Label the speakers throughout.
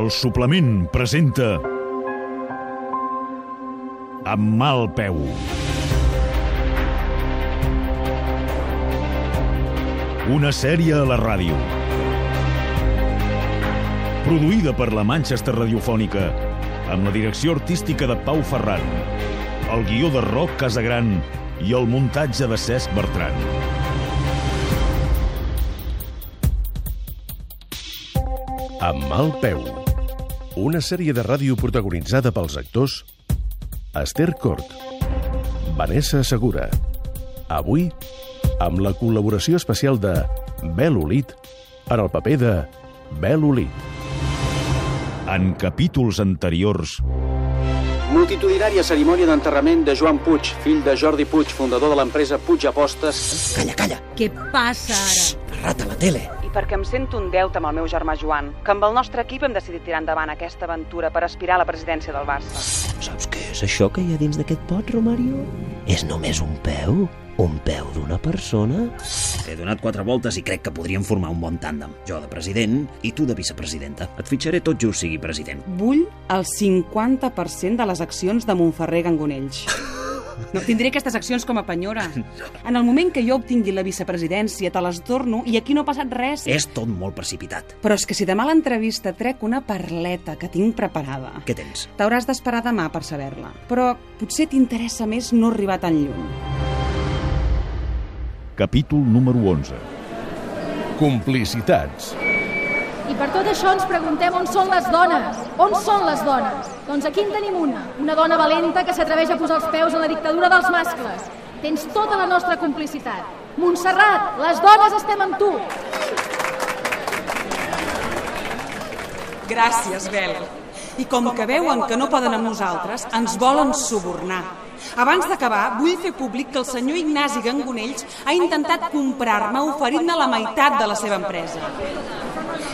Speaker 1: El suplement presenta... Amb mal peu. Una sèrie a la ràdio. Produïda per la Manchester Radiofònica, amb la direcció artística de Pau Ferran, el guió de Roc Casagran i el muntatge de Cesc Bertran.
Speaker 2: Amb mal peu. Una sèrie de ràdio protagonitzada pels actors Esther Cort, Vanessa Segura. Avui, amb la col·laboració especial de Bel Olit en el paper de Bel Olit.
Speaker 1: En capítols anteriors...
Speaker 3: Multitudinària cerimònia d'enterrament de Joan Puig, fill de Jordi Puig, fundador de l'empresa Puig Apostes.
Speaker 4: Calla, calla.
Speaker 5: Què passa ara?
Speaker 4: La rata, la tele.
Speaker 6: I perquè em sento un deute amb el meu germà Joan, que amb el nostre equip hem decidit tirar endavant aquesta aventura per aspirar a la presidència del Barça.
Speaker 4: Saps què és això que hi ha dins d'aquest pot, Romario? És només un peu? Un peu d'una persona?
Speaker 7: He donat quatre voltes i crec que podríem formar un bon tàndem. Jo de president i tu de vicepresidenta. Et fitxaré tot just sigui president.
Speaker 6: Vull el 50% de les accions de Montferrer Gangonells. No tindré aquestes accions com a penyora. En el moment que jo obtingui la vicepresidència, te les torno i aquí no ha passat res.
Speaker 7: És tot molt precipitat.
Speaker 6: Però és que si demà a l'entrevista trec una parleta que tinc preparada,
Speaker 7: Què tens?
Speaker 6: t'hauràs d'esperar demà per saber-la. Però potser t'interessa més no arribar tan lluny.
Speaker 1: Capítol número 11.
Speaker 2: Complicitats.
Speaker 8: I per tot això ens preguntem on són les dones. On són les dones? Doncs aquí en tenim una. Una dona valenta que s'atreveix a posar els peus en la dictadura dels mascles. Tens tota la nostra complicitat. Montserrat, les dones estem amb tu.
Speaker 9: Gràcies, Bel. I com que veuen que no poden amb nosaltres, ens volen subornar. Abans d'acabar, vull fer públic que el senyor Ignasi Gangonells ha intentat comprar-me oferint-me la meitat de la seva empresa.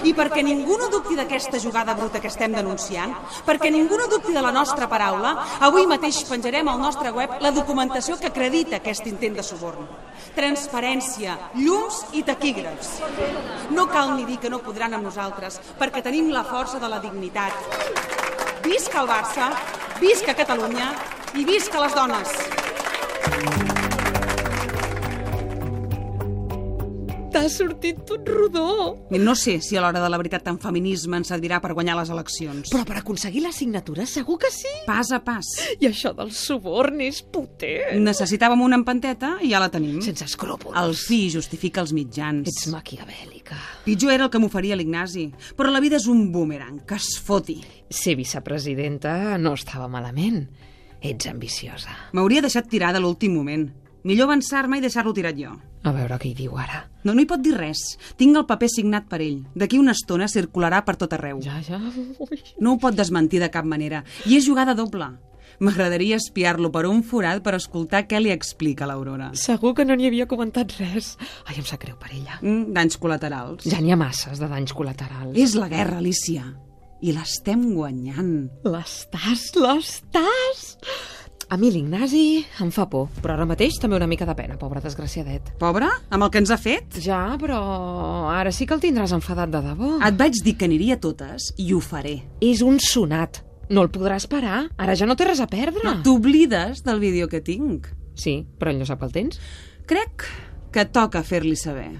Speaker 9: I perquè ningú no dubti d'aquesta jugada bruta que estem denunciant, perquè ningú no dubti de la nostra paraula, avui mateix penjarem al nostre web la documentació que acredita aquest intent de suborn. Transparència, llums i taquígrafs. No cal ni dir que no podran amb nosaltres, perquè tenim la força de la dignitat. Visca el Barça, visca Catalunya i visca les dones.
Speaker 10: T'ha sortit tot rodó.
Speaker 9: No sé si a l'hora de la veritat tan feminisme ens servirà per guanyar les eleccions.
Speaker 10: Però per aconseguir la signatura segur que sí.
Speaker 9: Pas a pas.
Speaker 10: I això del suborn és potent.
Speaker 9: Necessitàvem una empanteta i ja la tenim.
Speaker 10: Sense escròpols.
Speaker 9: El fi justifica els mitjans.
Speaker 10: Ets maquiavèlica.
Speaker 9: Pitjor era el que m'oferia l'Ignasi. Però la vida és un boomerang, que es foti.
Speaker 10: Ser vicepresidenta no estava malament. Ets ambiciosa.
Speaker 9: M'hauria deixat tirar de l'últim moment. Millor avançar-me i deixar-lo tirat jo.
Speaker 10: A veure què hi diu ara.
Speaker 9: No, no hi pot dir res. Tinc el paper signat per ell. D'aquí una estona circularà per tot arreu.
Speaker 10: Ja, ja. Ui.
Speaker 9: No ho pot desmentir de cap manera. I és jugada doble. M'agradaria espiar-lo per un forat per escoltar què li explica l'Aurora.
Speaker 10: Segur que no n'hi havia comentat res. Ai, em sap greu per ella.
Speaker 9: Mm, danys col·laterals.
Speaker 10: Ja n'hi ha masses de danys col·laterals.
Speaker 9: És la guerra, Alicia. I l'estem guanyant.
Speaker 10: L'estàs, l'estàs! A mi l'Ignasi em fa por, però ara mateix també una mica de pena, pobre desgraciadet.
Speaker 9: Pobre, amb el que ens ha fet?
Speaker 10: Ja, però ara sí que el tindràs enfadat de debò.
Speaker 9: Et vaig dir que aniria a totes i ho faré.
Speaker 10: És un sonat. No el podràs parar. Ara ja no té res a perdre.
Speaker 9: No t'oblides del vídeo que tinc.
Speaker 10: Sí, però ell no sap que el tens.
Speaker 9: Crec que toca fer-li saber.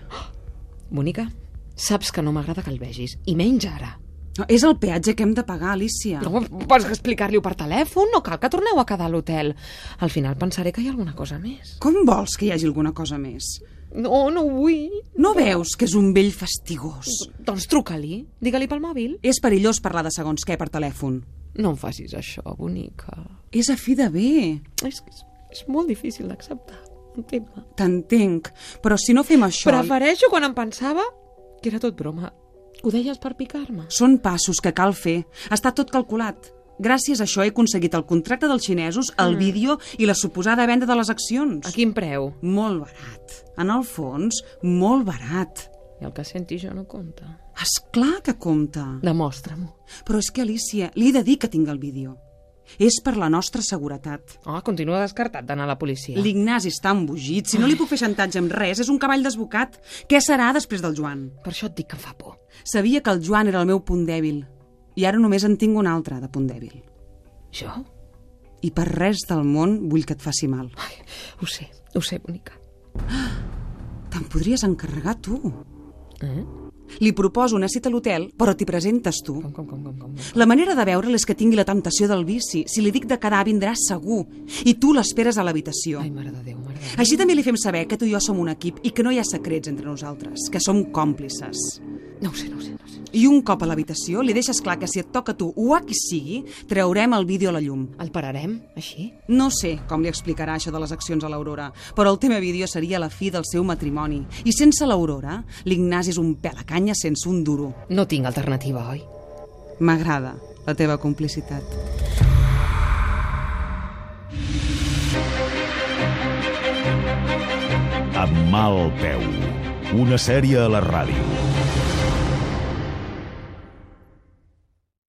Speaker 10: Bonica, saps que no m'agrada que el vegis, i menys ara.
Speaker 9: No, és el peatge que hem de pagar, Alicia.
Speaker 10: No pots explicar-li-ho per telèfon? No cal que torneu a quedar a l'hotel. Al final pensaré que hi ha alguna cosa més.
Speaker 9: Com vols que hi hagi alguna cosa més?
Speaker 10: No, no ho vull.
Speaker 9: No veus que és un vell fastigós?
Speaker 10: Doncs truca-li. Digue-li pel mòbil.
Speaker 9: És perillós parlar de segons què per telèfon.
Speaker 10: No em facis això, bonica.
Speaker 9: És a fi de bé.
Speaker 10: És que és, és molt difícil d'acceptar. Entén-me.
Speaker 9: T'entenc, però si no fem això...
Speaker 10: Prefereixo quan em pensava que era tot broma. Ho deies per picar-me.
Speaker 9: Són passos que cal fer. Està tot calculat. Gràcies a això he aconseguit el contracte dels xinesos, el vídeo i la suposada venda de les accions.
Speaker 10: A quin preu?
Speaker 9: Molt barat. En el fons, molt barat.
Speaker 10: I el que senti jo no compta.
Speaker 9: És clar que compta.
Speaker 10: Demostra-m'ho.
Speaker 9: Però és que, Alicia, li he de dir que tinc el vídeo. És per la nostra seguretat.
Speaker 10: Ah, continua descartat d'anar a la policia.
Speaker 9: L'Ignasi està embogit. Si no li puc fer xantatge amb res, és un cavall desbocat. Què serà després del Joan?
Speaker 10: Per això et dic que em fa por.
Speaker 9: Sabia que el Joan era el meu punt dèbil. I ara només en tinc un altre, de punt dèbil.
Speaker 10: Jo?
Speaker 9: I per res del món vull que et faci mal.
Speaker 10: Ai, ho sé, ho sé, bonica.
Speaker 9: Te'n podries encarregar tu.
Speaker 10: Eh?
Speaker 9: Li proposo una cita a l'hotel, però t'hi presentes tu.
Speaker 10: Com, com, com, com, com?
Speaker 9: La manera de veure'l és que tingui la temptació del vici. Si li dic de quedar, vindrà segur. I tu l'esperes a l'habitació.
Speaker 10: Ai, mare de Déu, mare de Déu.
Speaker 9: Així també li fem saber que tu i jo som un equip i que no hi ha secrets entre nosaltres, que som còmplices.
Speaker 10: No ho sé, no ho sé, no ho sé.
Speaker 9: I un cop a l'habitació li deixes clar que si et toca a tu o a qui sigui, traurem el vídeo a la llum.
Speaker 10: El pararem, així?
Speaker 9: No sé com li explicarà això de les accions a l'Aurora, però el tema vídeo seria la fi del seu matrimoni. I sense l'Aurora, l'Ignasi és un pèl a canya sense un duro.
Speaker 10: No tinc alternativa, oi?
Speaker 9: M'agrada la teva complicitat.
Speaker 1: Amb mal peu. Una sèrie a la ràdio.